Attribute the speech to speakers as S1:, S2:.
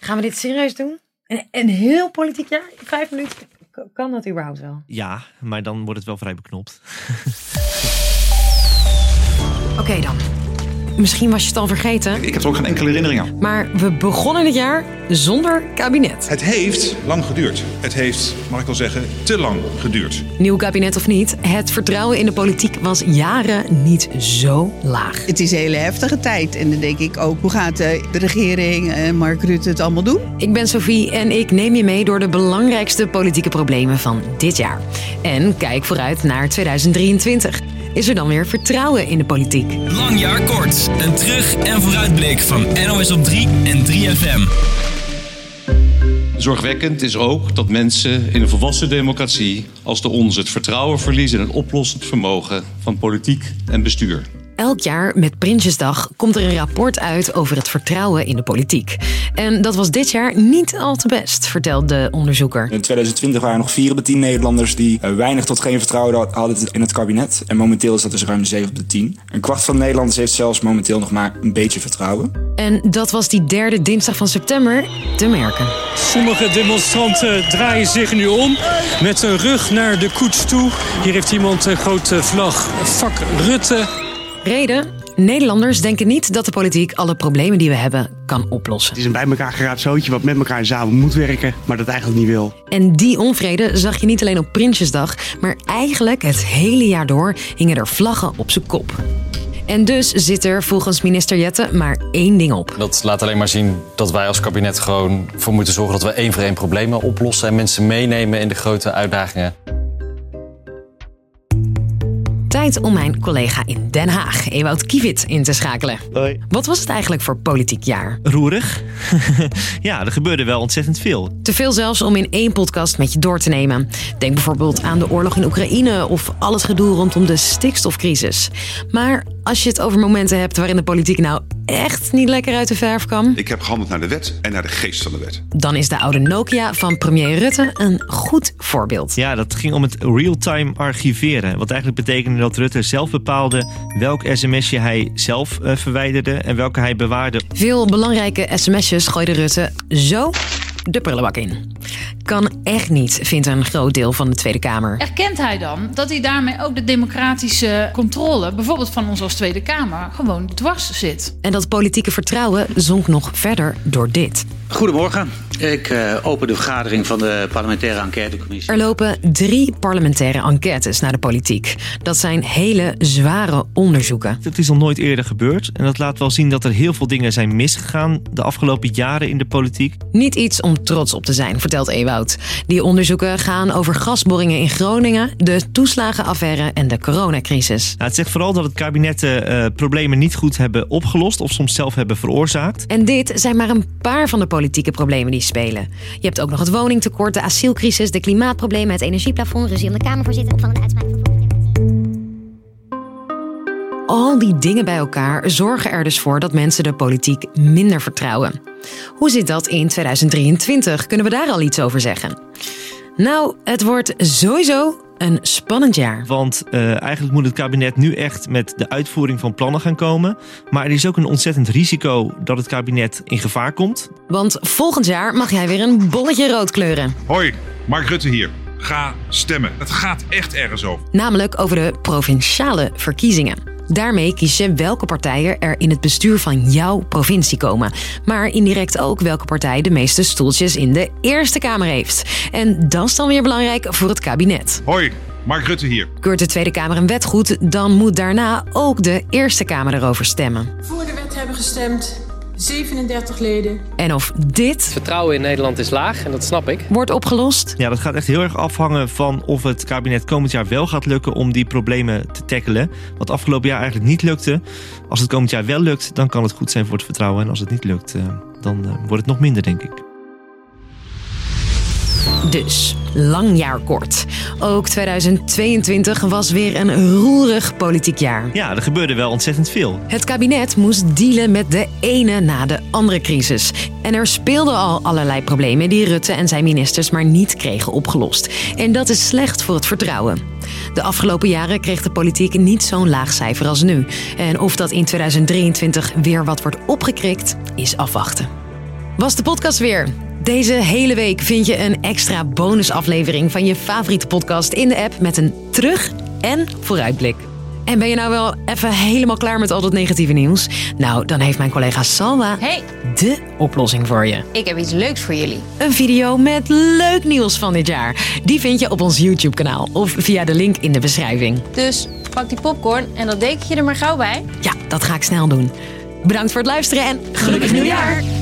S1: Gaan we dit serieus doen? Een, een heel politiek jaar? in Vijf minuten? K- Kan dat überhaupt wel?
S2: Ja, maar dan wordt het wel vrij beknopt.
S1: Oké dan. Misschien was je het al vergeten,
S3: Ik heb er ook geen enkele herinnering aan.
S1: maar we begonnen het jaar zonder kabinet.
S4: Het heeft lang geduurd. Het heeft, mag ik wel zeggen, te lang geduurd.
S1: Nieuw kabinet of niet, het vertrouwen in de politiek was jaren niet zo laag.
S5: Het is een hele heftige tijd. En dan denk ik ook, hoe gaat eh, de regering en Mark Rutte het allemaal doen?
S1: Ik ben Sophie en ik neem je mee door de belangrijkste politieke problemen van dit jaar. En kijk vooruit naar 2023. Is er dan weer vertrouwen in de politiek?
S6: Lang jaar kort. Een terug- en vooruitblik van NOS op 3 en 3FM.
S7: Zorgwekkend is ook dat mensen in een volwassen democratie als de onze het vertrouwen verliezen in het oplossend vermogen van politiek en bestuur.
S1: Elk jaar met Prinsjesdag komt er een rapport uit over het vertrouwen in de politiek. En dat was dit jaar niet al te best, vertelt de onderzoeker.
S8: In 2020 waren er nog 4 op de 10 Nederlanders die eh, weinig tot geen vertrouwen had- hadden in het kabinet. En momenteel is dat dus ruim 7 op de 10. Een kwart van de Nederlanders heeft zelfs momenteel nog maar een beetje vertrouwen.
S1: En dat was die derde dinsdag van september te merken.
S9: Sommige demonstranten draaien zich nu om met hun rug naar de koets toe. Hier heeft iemand een grote vlag. Fuck Rutte.
S1: Reden? Nederlanders denken niet dat de politiek alle problemen die we hebben kan oplossen.
S10: Het is een bij elkaar geraapt zootje wat met elkaar samen moet werken, maar dat eigenlijk niet wil.
S1: En die onvrede zag je niet alleen op Prinsjesdag, maar eigenlijk het hele jaar door hingen er vlaggen op zijn kop. En dus zit er volgens minister Jette maar één ding op.
S11: Dat laat alleen maar zien dat wij als kabinet gewoon voor moeten zorgen dat we één voor één problemen oplossen en mensen meenemen in de grote uitdagingen.
S1: Tijd om mijn collega in Den Haag, Ewout Kievit, in te schakelen.
S2: Hoi.
S1: Wat was het eigenlijk voor politiek jaar?
S2: Roerig. ja, er gebeurde wel ontzettend veel.
S1: Te veel zelfs om in één podcast met je door te nemen. Denk bijvoorbeeld aan de oorlog in Oekraïne of al het gedoe rondom de stikstofcrisis. Maar als je het over momenten hebt waarin de politiek nou echt niet lekker uit de verf kwam,
S4: Ik heb gehandeld naar de wet en naar de geest van de wet.
S1: dan is de oude Nokia van premier Rutte een goed voorbeeld.
S2: Ja, dat ging om het real-time archiveren. Wat eigenlijk betekende dat Rutte zelf bepaalde welk sms'je hij zelf eh, verwijderde en welke hij bewaarde.
S1: Veel belangrijke sms'jes gooide Rutte zo de prullenbak in. Kan echt niet, vindt een groot deel van de Tweede Kamer.
S12: Erkent hij dan dat hij daarmee ook de democratische controle, bijvoorbeeld van ons als Tweede Kamer, gewoon dwars zit?
S1: En dat politieke vertrouwen zonk nog verder door dit.
S10: Goedemorgen, ik eh, open de vergadering van de parlementaire enquêtecommissie.
S1: Er lopen drie parlementaire enquêtes naar de politiek. Dat zijn hele zware onderzoeken.
S2: Dat is nog nooit eerder gebeurd. En dat laat wel zien dat er heel veel dingen zijn misgegaan de afgelopen jaren in de politiek. Nou,
S1: Niet iets om trots op te zijn, vertelt Ewoud. Die onderzoeken gaan over gasboringen in Groningen, de toeslagenaffaire en de coronacrisis.
S2: Nou, het zegt vooral dat het kabinetten eh, problemen niet goed hebben opgelost of soms zelf hebben veroorzaakt.
S1: En dit zijn maar een paar van de politieke problemen die spelen. Je hebt ook nog het woningtekort, de asielcrisis, de klimaatproblemen, het energieplafond, ruzie om de Kamervoorzitter van de uitspraak. Al die dingen bij elkaar zorgen er dus voor dat mensen de politiek minder vertrouwen. Hoe zit dat in 2023? Kunnen we daar al iets over zeggen? Nou, het wordt sowieso een spannend jaar.
S2: Want eh, eigenlijk moet het kabinet nu echt met de uitvoering van plannen gaan komen. Maar er is ook een ontzettend risico dat het kabinet in gevaar komt.
S1: Want volgend jaar mag jij weer een bolletje rood kleuren.
S4: Hoi, Mark Rutte hier. Ga stemmen. Het gaat echt ergens over.
S1: namelijk over de provinciale verkiezingen. Daarmee kies je welke partijen er in het bestuur van jouw provincie komen. Maar indirect ook welke partij de meeste stoeltjes in de Eerste Kamer heeft. En dat is dan weer belangrijk voor het kabinet.
S4: Hoi, Mark Rutte hier.
S1: Keurt de Tweede Kamer een wet goed, dan moet daarna ook de Eerste Kamer erover stemmen.
S12: Voor de wet hebben gestemd 37 leden.
S1: En of dit
S11: Vertrouwen in Nederland is laag en dat snap ik.
S1: wordt opgelost,
S2: Ja, dat gaat echt heel erg afhangen van of het kabinet komend jaar wel gaat lukken om die problemen te tackelen. Wat afgelopen jaar eigenlijk niet lukte. Als het komend jaar wel lukt, dan kan het goed zijn voor het vertrouwen. En als het niet lukt, eh, dan eh, wordt het nog minder, denk ik.
S1: Dus, lang jaar kort. Ook 2022 was weer een roerig politiek jaar.
S2: Ja, er gebeurde wel ontzettend veel.
S1: Het kabinet moest dealen met de ene na de andere crisis. En er speelden al allerlei problemen die Rutte en zijn ministers maar niet kregen opgelost. En dat is slecht voor het vertrouwen. De afgelopen jaren kreeg de politiek niet zo'n laag cijfer als nu. En of dat in 2023 weer wat wordt opgekrikt, is afwachten. was de podcast weer. Deze hele week vind je een extra bonusaflevering van je favoriete podcast in de app met een terug- en vooruitblik. En ben je nou wel even helemaal klaar met al dat negatieve nieuws? Nou, dan heeft mijn collega Salwa
S3: Hey.
S1: de oplossing voor je.
S3: Ik heb iets leuks voor jullie.
S1: Een video met leuk nieuws van dit jaar. Die vind je op ons YouTube-kanaal of via de link in de beschrijving.
S3: Dus pak die popcorn en dat dekentje er maar gauw bij.
S1: Ja, dat ga ik snel doen. Bedankt voor het luisteren en gelukkig nieuwjaar!